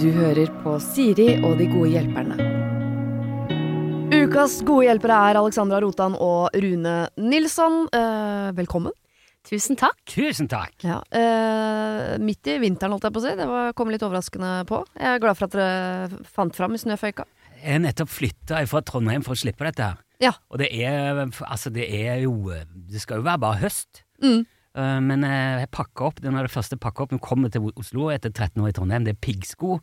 Du hører på Siri og de gode hjelperne. Ukas gode hjelpere er Alexandra Rotan og Rune Nilsson. Eh, velkommen. Tusen takk. Tusen takk! Ja, eh, midt i vinteren, holdt jeg på å si. Det var, kom litt overraskende på. Jeg er glad for at dere fant fram i snøføyka. Jeg har nettopp flytta fra Trondheim for å slippe dette her. Ja. Og det er, altså det er jo Det skal jo være bare høst. Mm. Eh, Men eh, jeg pakka opp. Den er det første jeg pakka opp når jeg kommer til Oslo etter 13 år i Trondheim. Det er piggsko.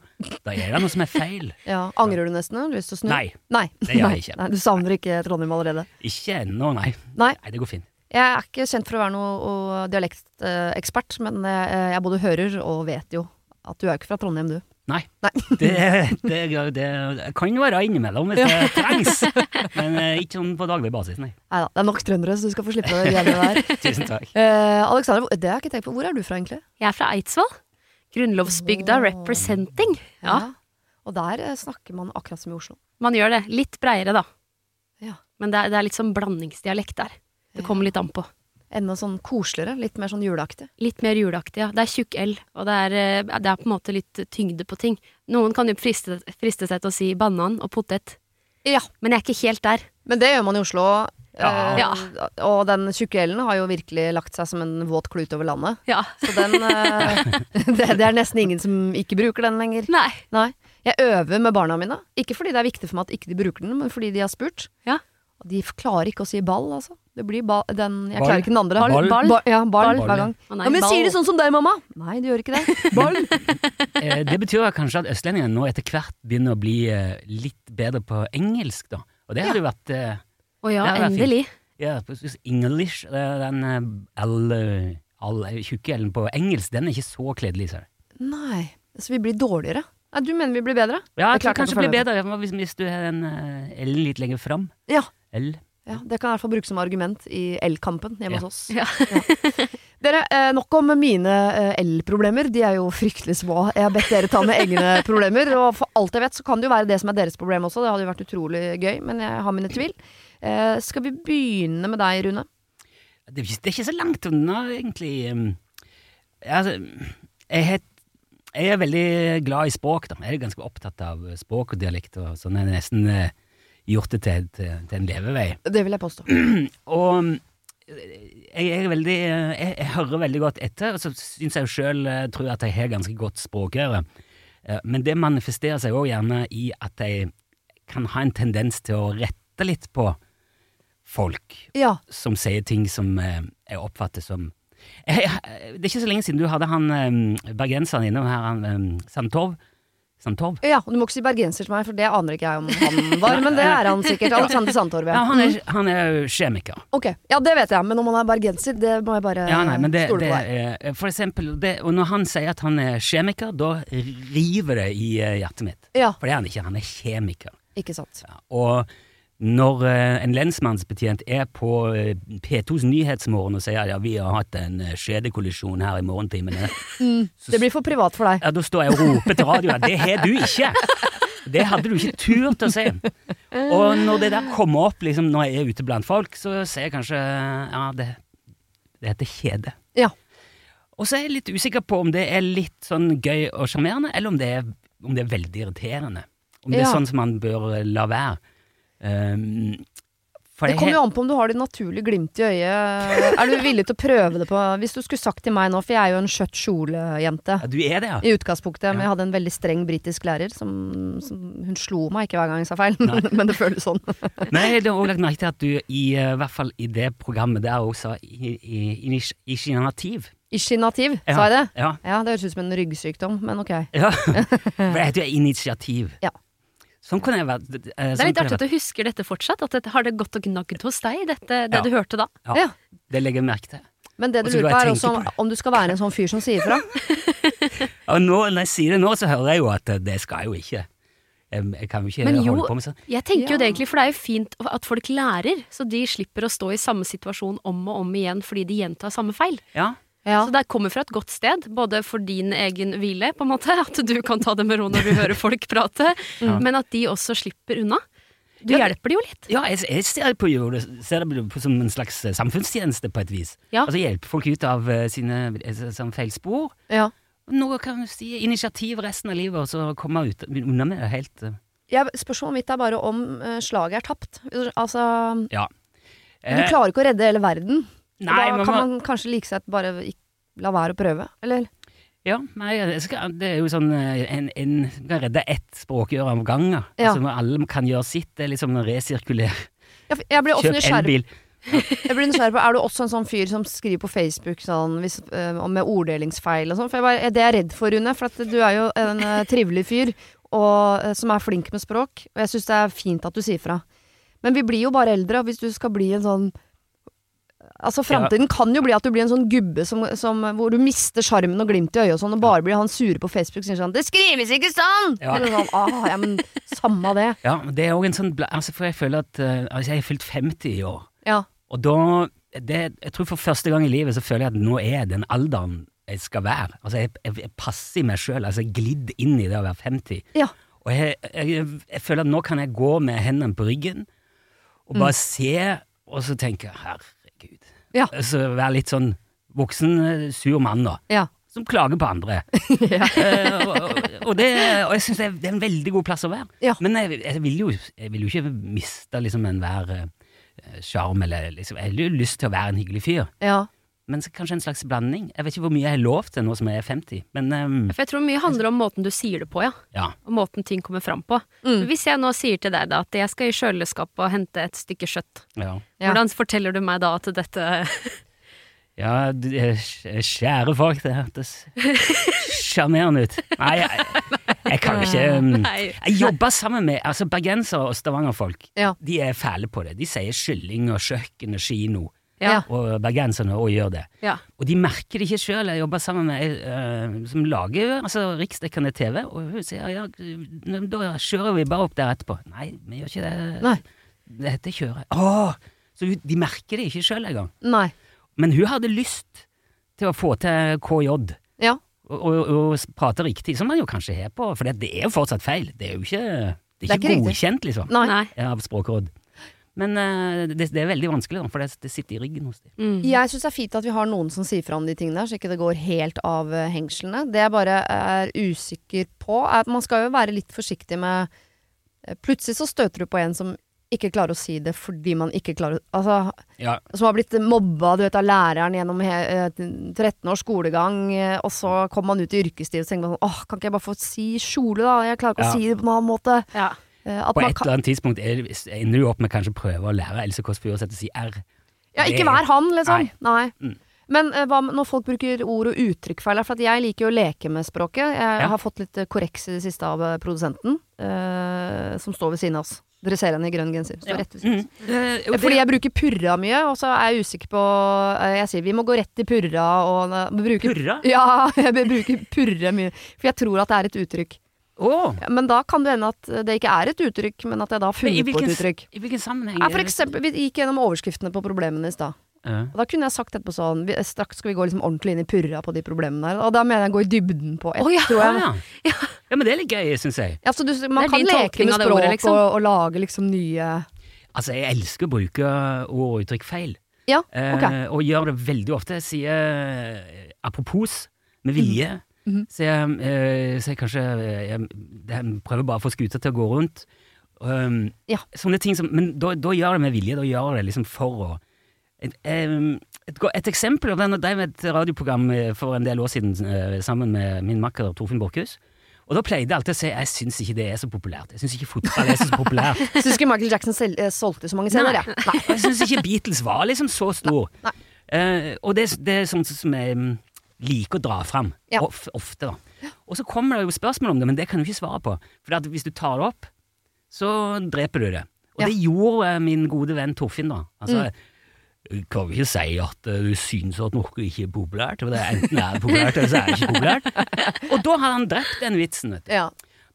Da er det noe som er feil. Ja, angrer du nesten? Har du lyst til å snu? Nei. Nei. Det gjør Nei, jeg ikke. Nei, du savner ikke Trondheim allerede? Ikke ennå, nei. Nei. Nei, det går fint. Jeg er ikke kjent for å være noe dialektekspert, men eh, jeg både hører og vet jo at du er ikke fra Trondheim, du. Nei. Nei. Det, det, det, det kan jo være innimellom hvis det trengs. Men eh, ikke sånn på daglig basis, nei. Neida, det er nok trøndere, så du skal få slippe det greiene der. Tusen takk. Eh, Alexandra, hvor- det har jeg ikke tenkt på. Hvor er du fra, egentlig? Jeg er fra Eidsvoll. Grunnlovsbygda Åh. representing. Ja, Og der eh, snakker man akkurat som i Oslo. man gjør det. Litt breiere, da. Ja. Men det er, det er litt sånn blandingsdialekt der. Det kommer litt an på. Enda sånn koseligere, litt mer sånn juleaktig. Litt mer juleaktig, ja. Det er tjukk L, og det er, eh, det er på en måte litt tyngde på ting. Noen kan jo friste, friste seg til å si banan og potet, Ja, men jeg er ikke helt der. men det gjør man i Oslo. eh, Ja. Og den tjukke L-en har jo virkelig lagt seg som en våt klut over landet. Ja. Så den eh, det, det er nesten ingen som ikke bruker den lenger. Nei. Nei. Jeg øver med barna mine. Ikke fordi det er viktig for meg at ikke de bruker den, men fordi de har spurt. Ja. Og de f- klarer ikke å si ball, altså. Det blir ba den, jeg Ball. klarer ikke den andre. Ball. Ba- ja, ball, Ball, hver ja. gang. Å nei, ja, men ball. sier de sånn som deg, mamma? Nei, de gjør ikke det. Ball. Eh, Det betyr kanskje at østlendingene nå etter hvert begynner å bli eh, litt bedre på engelsk, da. Og det hadde jo vært eh, Å ja, Ja, det er fint. endelig. Ja, precis. English, det er den eh, L, eh, all, tjukke L-en på engelsk, den er ikke så kledelig, ser jeg. Nei, så vi blir dårligere. Nei, du mener vi blir bedre? Ja, Det er klart jeg tror den kanskje får det blir bedre hvis, hvis du har den eh, L-en litt lenger fram. Ja. L. Ja, Det kan jeg i hvert fall brukes som argument i elkampen hjemme Ja. hos oss. Ja. Ja. Dere, eh, Nok om mine eh, elproblemer, de er jo fryktelig små. Jeg har bedt dere ta med egne problemer. Og for alt jeg vet, så kan det jo være det som er deres problem også. Det hadde jo vært utrolig gøy, men jeg har mine tvil. Eh, Skal vi begynne med deg, Rune? Det, er ikke- det er ikke så langt unna, egentlig. Um, Altså, jeg, het, jeg er veldig glad i språk, da. Jeg er ganske opptatt av språk og dialekt, og sånn jeg har nesten eh, gjort det til, til, til en levevei. Det vil jeg påstå. Og mm, jeg, er veldig, eh, jeg, jeg hører veldig godt etter, og så syns jeg sjøl tror at jeg har ganske godt språkøre. Eh, Men det manifesterer seg òg gjerne i at jeg kan ha en tendens til å rette litt på folk Ja. som sier ting som eh, jeg oppfatter som jeg, jeg- Det er ikke så lenge siden du hadde han eh, bergenseren innom her, han eh, Sandtorv. Sandtorv? ja. Og du må ikke si bergenser til meg, for det aner ikke jeg om han var. Men det er han sikkert. Alexander Sandtorv, Ja, ja. han er, han er jo kjemiker. Ok, ja det vet jeg, men om han er bergenser, det må jeg bare Ja, nei, men det, stole på. det deg. er, eh, For eksempel, det, og når han sier at han er kjemiker, da river det i eh, hjertet mitt. Ja, For det er han ikke, han er kjemiker. ikke sant. Ja, Og når eh, en lensmannsbetjent er på eh, P2s Nyhetsmorgen og sier ja, vi har hatt en eh, skjedekollisjon her i morgentimene, Det blir for privat for deg. ja, da står jeg og roper til radioen det har du ikke! Det hadde du ikke turt å si. Og når det der kommer opp liksom, når jeg er ute blant folk, så sier jeg kanskje ja, det, det heter kjede. Ja. Og så er jeg litt usikker på om det er litt sånn gøy og sjarmerende, eller om det, er, om det er veldig irriterende. Om det er Ja. sånn som man bør eh, la være. Ehm, for Det jeg kommer har- jo an på om du har det naturlige glimt i øyet. Er du villig til å prøve det på Hvis du skulle sagt til meg nå, for jeg er jo en skjørt kjolejente Ja, du er det, ja. i utgangspunktet, men Ja. jeg hadde en veldig streng britisk lærer som, som Hun slo meg ikke hver gang jeg sa feil, Nei. men det føles sånn. Nei, det har også lagt merke til at du i eh, hvert fall i det programmet der også i, i, i, i initiativ. Ischinativ, Ja. sa jeg det? Ja. Ja, det høres ut som en ryggsykdom, men ok. ja. For det heter jo initiativ. Ja. Sånn kunne jeg vært. Det Det er litt artig at du husker dette fortsatt, at dette har det gått og gnagd hos deg, dette, det Ja. du hørte da. Ja. Ja. Det legger jeg merke til. Men det du Og så lurer går på, jeg er og også tenker om, på det. om du skal være en sånn fyr som sier fra. Og nå, når jeg sier det nå, så hører jeg jo at eh, det skal jeg jo ikke. Jeg, jeg kan jo ikke Men jo- holde på med sånn. Jeg tenker Ja. jo det egentlig, for det er jo fint at folk lærer, så de slipper å stå i samme situasjon om og om igjen fordi de gjentar samme feil. Ja. Ja. Så det kommer fra et godt sted, både for din egen hvile, på en måte, at du kan ta det med ro når du hører folk prate, men at de også slipper unna. Du Ja, hjelper det jo litt. Ja, jeg, jeg ser på jo det, ser det på som en slags eh, samfunnstjeneste på et vis. Ja. Altså hjelpe folk ut av eh, sine eh, så- sånn feilspor. Ja. Noe kan du si, initiativ resten av livet, og så komme ut unna med det helt. eh. Jeg, spørsmålet mitt er bare om eh, slaget er tapt. Altså Ja. Eh. Du klarer ikke å redde hele verden. Og nei, da man kan må- man kanskje like seg bare ikke la være å prøve, eller? Ja, nei, jeg skal, det er jo sånn eh, en, en du kan redde ett språkøre om gangen. Ja. Altså, alle kan gjøre sitt. Det er liksom resirkuler. Jeg, jeg blir ofte Kjøp nysgjerrig, elbil. jeg blir nysgjerrig på Er du også en sånn fyr som skriver på Facebook sånn, hvis, eh, om med orddelingsfeil og sånn? For jeg bare, det er jeg redd for, Rune, for at du er jo en eh, trivelig fyr og, eh, som er flink med språk. Og jeg syns det er fint at du sier fra. Men vi blir jo bare eldre, og hvis du skal bli en sånn Altså Framtiden kan jo bli at du blir en sånn gubbe som, som, hvor du mister sjarmen og glimtet i øyet og sånn, og bare blir han sure på Facebook og sier sånn 'Det skrives ikke sånn!' Ja. Eller sånn, ah, ja, men Samme det. Ja, men det er òg en sånn bla- altså, For jeg føler at eh, altså, jeg er fylt 50 i år. Ja. Og da det, Jeg tror for første gang i livet så føler jeg at nå er jeg den alderen jeg skal være. Altså, jeg, jeg, jeg passer i meg sjøl. Altså, jeg glidd inn i det å være 50. Ja. Og jeg, jeg, jeg føler at nå kan jeg gå med hendene på ryggen og bare se, og så tenke herregud. Ja. Så være litt sånn voksen, eh, sur mann, da. Ja. Som klager på andre. ja. Eh, og, og, og, det, og jeg syns det, er- det er en veldig god plass å være. Ja. Men jeg, jeg, vil jo, jeg vil jo ikke miste liksom enhver eh, sjarm, eller liksom Jeg har jo lyst til å være en hyggelig fyr, ja. men så kanskje en slags blanding. Jeg vet ikke hvor mye jeg har lov til nå som jeg er 50, men eh, For jeg tror mye handler om måten du sier det på, ja. ja. Og måten ting kommer fram på. Hvis jeg nå sier til deg da at jeg skal i kjøleskapet og hente et stykke kjøtt, ja. Ja. hvordan forteller du meg da at dette Ja, du- eh, skj- kjære folk, det hørtes sjarmerende ut. Nei, jeg, jeg kan ikke um, Nei. Jeg jobber sammen med altså bergensere og stavangerfolk. Ja. De er fæle på det. De sier kylling og kjøkken og kino, Ja. og bergenserne òg gjør det. Ja. Og de merker det ikke sjøl. Jeg jobber sammen med ei eh, som lager altså, riksdekkende TV, og hun sier ja, da kjører vi bare opp der etterpå. Nei, vi gjør ikke det. Nei. Det heter kjøre. Åh! Så hun- de merker det ikke sjøl engang. Nei. Men hun hadde lyst til å få til KJ, og, Ja. og, og prate riktig, som man jo kanskje har på, for det, det er jo fortsatt feil. Det er jo ikke, det er Det er ikke ikke riktig. godkjent, liksom, Nei. Nei. av Språkråd. Men eh, det, det er veldig vanskelig, da, for det, det sitter i ryggen hos dem. Mm. Jeg syns det er fint at vi har noen som sier fra om de tingene her, så ikke det går helt av eh, hengslene. Det jeg bare eh, er usikker på, er at man skal jo være litt forsiktig med eh, Plutselig så støter du på en som ikke klarer å si det fordi man ikke klarer å Altså, Ja. som har blitt mobba du vet, av læreren gjennom he, eh, 13 års skolegang, eh, og så kommer man ut i yrkeslivet og så tenker man sånn Åh, kan ikke jeg bare få si kjole, da? Jeg klarer ikke Ja. å si det på en annen måte. Ja. Eh, At På man et kan eller annet tidspunkt er, ender du opp med kanskje å prøve å lære Else Kåss Furuseth å si R. Ja, Det- ikke vær han, liksom. Nei. Nei. Mm. Men eh, hva med når folk bruker ord og uttrykk feil? For at jeg liker jo å leke med språket. Jeg Ja. har fått litt eh, korreks i det siste av eh, produsenten, eh, som står ved siden av oss. Dere ser henne i grønn genser. Står rett ved siden. Mm. Eh, og det- Fordi jeg bruker purra mye, og så er jeg usikker på eh, Jeg sier vi må gå rett i purra og eh, bruke Purra? Ja, jeg bruker purre mye. For jeg tror at det er et uttrykk. Åh! Ja, Men da kan det hende at det ikke er et uttrykk, men at jeg da har Men i funnet på et hvilken s- uttrykk. I hvilken sammenheng? Ja, er for det- eksempel, vi gikk gjennom overskriftene på problemene i stad. Ja. Og Da kunne jeg sagt etterpå sånn vi, Straks skal vi gå liksom ordentlig inn i purra på de problemene der. Og da mener jeg gå i dybden på ett, Å, ja. tror jeg. Ah, ja. ja, men det er litt gøy, syns jeg. Ja, så du, man Det er kan din leke tolkning med av det språk ordet, liksom. og, og lage liksom nye Altså, jeg elsker å bruke ord og uttrykk feil. Ja, ok. Eh, og gjør det veldig ofte. Jeg sier eh, apropos med vilje. Mhm. Så jeg, eh, så jeg kanskje eh, jeg, jeg prøver bare å få skuta til å gå rundt. Um, Ja. Sånne ting som Men da, da gjør jeg det med vilje. Da gjør jeg det liksom for å et, em, et, go- et eksempel av den Jeg drev med et radioprogram eh, for en del år siden eh, sammen med min makker Torfinn Borchhus. Og da pleide jeg alltid å si jeg syns ikke det er så populært. Jeg syns ikke fotball er så populært. Syns ikke Michael Jackson sel eh, solgte så mange scener, jeg. Nei, jeg syns ikke Beatles var liksom så stor. Nei, Eh, og det, det er sånt som jeg mm, liker å dra fram. Ja. Of, ofte, da. Og så kommer det jo spørsmål om det, men det kan du ikke svare på. For at hvis du tar det opp, så dreper du det. Og Ja. Mm. det gjorde eh, min gode venn Torfinn, da. Altså, Du kan jo ikke si at eh, du syns at noe ikke er populært. For det er enten er det populært, eller så er det ikke populært. Og da har han drept den vitsen, vet du. Ja.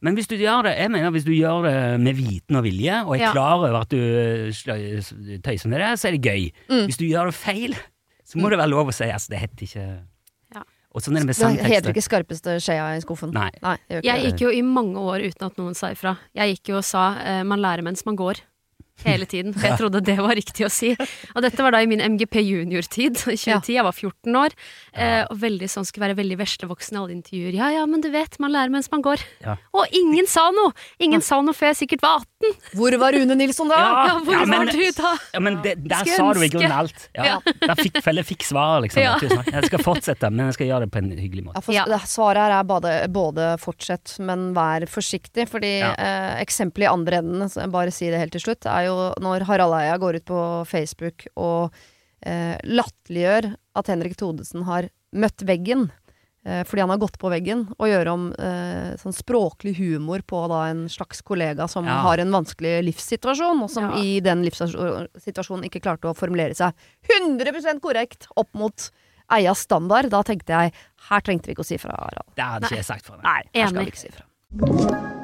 Men hvis du gjør det jeg mener hvis du gjør det med viten og vilje, og er Ja. klar over at du eh, slø- tøyser med det, så er det gøy. Mm. Hvis du gjør det feil, så må det være lov å si altså, det heter ikke Ja. Og sånn er det med Det heter sangtekster. ikke skarpeste skjea i skuffen. Nei. Nei det gjør ikke Jeg gikk jo i mange år uten at noen sa ifra. Jeg gikk jo og sa eh, 'man lærer mens man går'. hele tiden, for jeg trodde det var riktig å si. Og dette var da i min MGP junior-tid, 2010, jeg var 14 år, eh, og veldig sånn skulle være veldig veslevoksen i alle intervjuer. Ja, ja, men du vet, man lærer mens man går. Ja. Og ingen sa noe! Ingen sa noe før jeg sikkert var 18. Hvor var Rune Nilsson da? Ja, Ja, hvor ja, men- var du da? Ja, men det, Der Skulle sa du i ønske. grunnen alt. Ja. Der fikk, felle fikk svaret, liksom. Ja. Tusen takk. Jeg skal fortsette, men jeg skal gjøre det på en hyggelig måte. Ja, for Ja. det- Svaret her er både, både fortsett, men vær forsiktig. Fordi Ja. eh, eksempelet i andre enden, så jeg bare si det helt til slutt, er jo når Harald Eia går ut på Facebook og eh, latterliggjør at Henrik Thodesen har møtt veggen. eh, Fordi han har gått på veggen, og gjøre om eh, sånn språklig humor på da, en slags kollega som Ja. har en vanskelig livssituasjon, og som Ja. i den livssituasjonen ikke klarte å formulere seg 100 korrekt opp mot Eias standard. Da tenkte jeg her trengte vi ikke å si fra, Harald. Det hadde ikke jeg sagt for meg. Nei, her skal Enig. vi ikke si fra.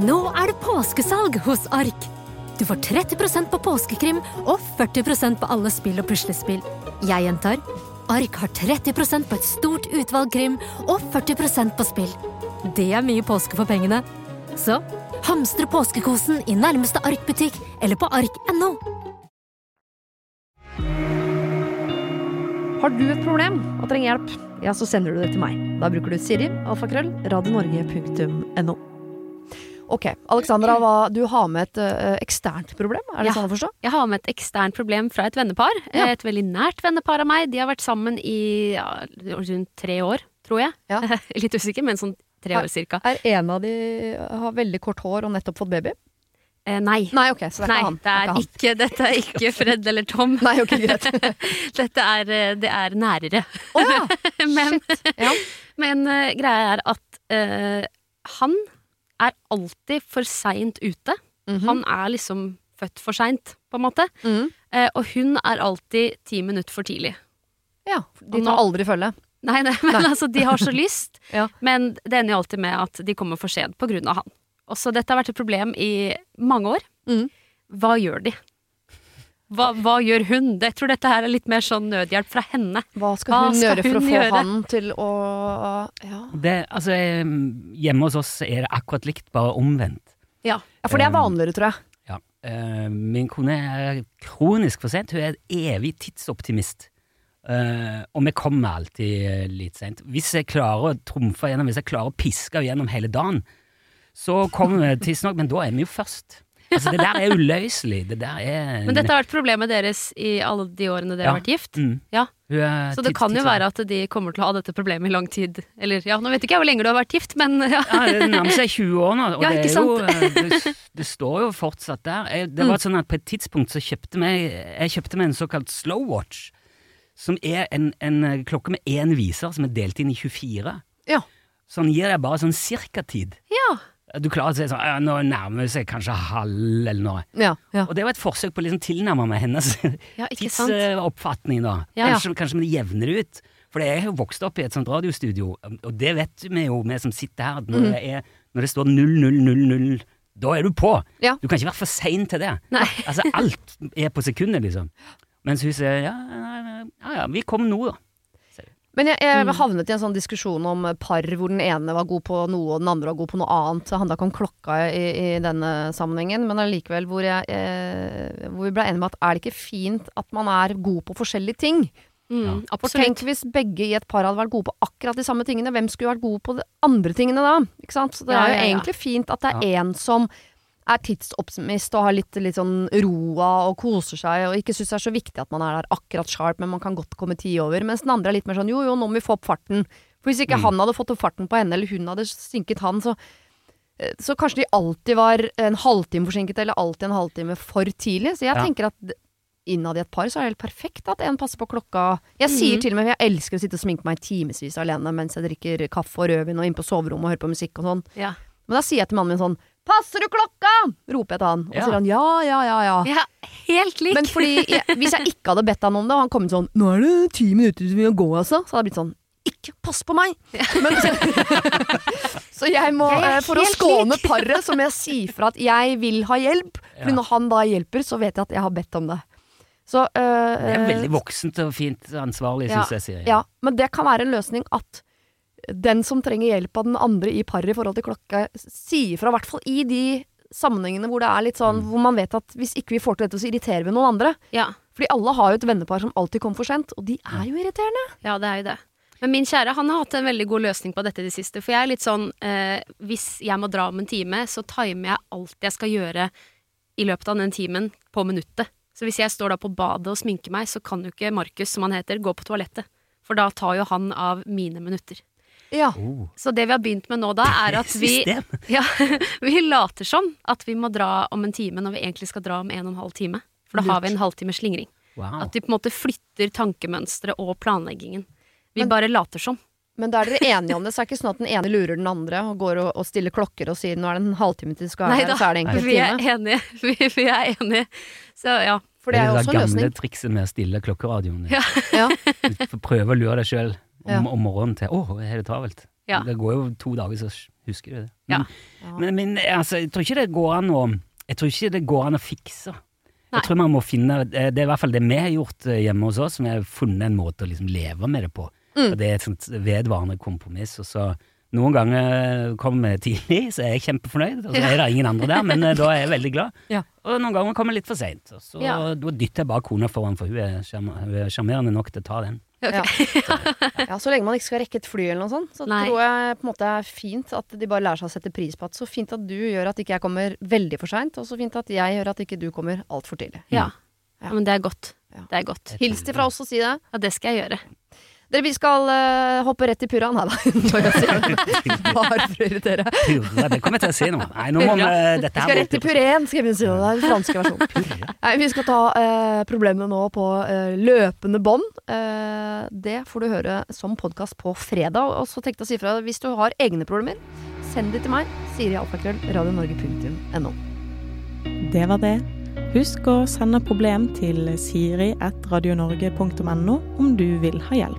Nå er det påskesalg hos Ark. Du får 30 på påskekrim og 40 på alle spill og puslespill. Jeg gjentar Ark har 30 på et stort utvalg krim og 40 på spill. Det er mye påske for pengene. Så hamstre påskekosen i nærmeste Ark-butikk eller på ark.no. Har du et problem og trenger hjelp, ja, så sender du det til meg. Da bruker du Siri, alfakrøll, radionorge.no. Ok, Alexandra, hva, du har med et ø, eksternt problem, er det Ja. sånn å forstå? Jeg har med et eksternt problem fra et vennepar. Ja. Et veldig nært vennepar av meg. De har vært sammen i ja, rundt tre år, tror jeg. Ja. Litt usikker, men sånn tre år cirka. Er en av de eh, har veldig kort hår og nettopp fått baby? Eh, nei. Nei, ok, så det er Nei, ikke han. det er ikke, dette er ikke Fred eller Tom. Nei, ok, greit. Dette er, eh, det er nærere. Å ja! Men, Shit. Ja. men eh, greia er at eh, han er alltid for seint ute. Mhm. Han er liksom født for seint, på en måte. Mhm. Eh, og hun er alltid ti minutter for tidlig. ja. De tar aldri følge. Nei, nei men altså, de har så lyst. Ja. Men det ender jo alltid med at de kommer for sent på grunn av han. Og så dette har vært et problem i mange år. Mm. Hva gjør de? Hva, hva gjør hun? Jeg tror dette her er litt mer sånn nødhjelp fra henne. Hva skal Hva hun skal gjøre for hun å få gjøre? han til å ja. Det, altså, eh, hjemme hos oss er det akkurat likt, bare omvendt. Ja. ja, for det er vanligere, tror jeg. Ja. Eh, min kone er kronisk for sent. Hun er en evig tidsoptimist. Eh, og vi kommer alltid eh, litt seint. Hvis jeg klarer å trumfe gjennom, hvis jeg klarer å piske henne gjennom hele dagen, så kommer vi tidsnok, men da er vi jo først. Altså, det der er uløselig. Det der er Men dette har vært problemet deres i alle de årene dere Ja. har vært gift. Mm. Ja. Hun er Så det tids- kan jo tidsoptimist. være at de kommer til å ha dette problemet i lang tid. Eller ja, nå vet ikke jeg hvor lenge du har vært gift, men ja. Ja, det nærmer seg 20 år nå, og Ja, det, ikke er jo, eh, det, det står jo fortsatt der. Jeg, det var sånn at På et tidspunkt så kjøpte meg, jeg kjøpte meg en såkalt slowwatch, som er en, en eh, klokke med én viser som er delt inn i 24. Ja. Så den gir deg bare sånn cirkatid. ja. sånn Du klarer å si sånn «Ja, Nå nærmer det seg kanskje halv eller noe. Ja, ja. Og det var et forsøk på å liksom tilnærme meg hennes Ja, ikke sant? tidsoppfatning, eh, da. Ja, ja. Kanskje, kanskje vi jevner det ut. For jeg har jo vokst opp i et sånt radiostudio, og det vet vi jo, vi som sitter her, at Mm. når, det, er, når det står 0000, da er du på! Ja. Du kan ikke være for sein til det. Nei. Altså, alt er på sekundet, liksom. Mens hun sier ja, ja, ja, vi kom nå, da. Men jeg, jeg havnet i en sånn diskusjon om par hvor den ene var god på noe og den andre var god på noe annet. Det handla ikke om klokka i, i denne sammenhengen, men allikevel hvor, jeg, eh, hvor vi ble enige om at er det ikke fint at man er god på forskjellige ting? Mm, For absolutt. tenk hvis begge i et par hadde vært gode på akkurat de samme tingene, hvem skulle vært gode på de andre tingene da? Ikke sant? Så det Ja, er jo ja, ja. egentlig fint at det er én som er tidsoptimist og har litt, litt sånn roa og koser seg og ikke syns det er så viktig at man er der akkurat sharp, men man kan godt komme ti over. Mens den andre er litt mer sånn jo jo, nå må vi få opp farten. For hvis ikke Mm. han hadde fått opp farten på henne, eller hun hadde synket han, så eh, så kanskje de alltid var en halvtime forsinket, eller alltid en halvtime for tidlig. Så jeg Ja. tenker at innad i et par, så er det helt perfekt at en passer på klokka. Jeg sier til og med jeg elsker å sitte og sminke meg i timevis alene mens jeg drikker kaffe og rødvin og inn på soverommet og hører på musikk og sånn. Ja. Men da sier jeg til mannen min sånn Passer du klokka?! roper jeg til han. Og så Ja. sier han ja, ja, ja, ja. Vi er helt lik! Men fordi jeg, hvis jeg ikke hadde bedt han om det, og han kom inn sånn 'Nå er det ti minutter til vi må gå, altså', så hadde jeg blitt sånn ikke pass på meg! Men, så jeg må, Jeg er eh, for å helt skåne paret, så må jeg si fra at jeg vil ha hjelp. For Ja. når han da hjelper, så vet jeg at jeg har bedt om det. Så eh, Det er veldig voksent og fint ansvarlig, Ja. syns jeg, Siri. Ja, men det kan være en løsning at den som trenger hjelp av den andre i paret i forhold til klokka, sier fra, i hvert fall i de sammenhengene hvor det er litt sånn, Mm. hvor man vet at hvis ikke vi får til dette, så irriterer vi noen andre. ja. Fordi alle har jo et vennepar som alltid kommer for sent, og de er jo irriterende. Ja, det er jo det. Men min kjære han har hatt en veldig god løsning på dette i det siste. For jeg er litt sånn eh, Hvis jeg må dra om en time, så timer jeg alt jeg skal gjøre i løpet av den timen, på minuttet. Så hvis jeg står da på badet og sminker meg, så kan jo ikke Markus, som han heter, gå på toalettet. For da tar jo han av mine minutter. Ja. Oh. Så det vi har begynt med nå da, er at vi, System. ja, vi later som at vi må dra om en time når vi egentlig skal dra om en og en halv time. For da har vi en halvtime slingring. Wow. At de på en måte flytter tankemønstre og planleggingen. Vi bare later som. Men da er dere enige om det, så er det ikke sånn at den ene lurer den andre og går og, og stiller klokker og sier nå er det en halvtime til du skal være Nei her, da, og så er det egentlig vi en er time. enige. Vi, vi er enige. Så ja. For det er jo det også en gamle løsning. trikset med å stille klokkeradioen. Ja. Ja. Du får prøve å lure deg sjøl om, Ja. om morgenen til 'Å, er det travelt?' Ja. Det går jo to dager, så husker du det. Ja. Men, men, men altså, jeg tror ikke det går an å Jeg tror ikke det går an å fikse. Nei. Jeg tror man må finne eh, Det er i hvert fall det vi har gjort eh, hjemme hos oss, som har funnet en måte å liksom leve med det på. Mm. Og det er et sånt vedvarende kompromiss. Og så noen ganger eh, kommer vi tidlig, så er jeg kjempefornøyd, og så er det ingen andre der, men eh, da er jeg veldig glad. Ja. Og noen ganger kommer jeg litt for seint, og så da Ja. dytter jeg bare kona foran, for hun er sjarm- hun er sjarmerende nok til å ta den. Ja. ja, Så lenge man ikke skal rekke et fly eller noe sånt, så Nei. tror jeg på en måte er fint at de bare lærer seg å sette pris på at så fint at du gjør at ikke jeg kommer veldig for seint, og så fint at jeg gjør at ikke du kommer altfor tidlig. ja. ja. Men det er godt. Ja. Det er godt. Hils de fra oss og si det. Ja, det skal jeg gjøre. Dere, vi skal eh, hoppe rett i purra. Nei da, bare for å irritere. Purre, det kommer jeg til å si nå. Nei, nå må vi Vi dette skal her rett i pureen, skal jeg begynne å si det. Det er den franske versjonen. Nei, vi skal ta eh, problemene nå på eh, løpende bånd. Eh, det får du høre som podkast på fredag. Og så tenkte jeg å si fra hvis du har egne problemer, send de til meg. Siri Alfakrøll, radionorge.no. Det var det. Husk å sende problem til siri.radionorge.no om du vil ha hjelp.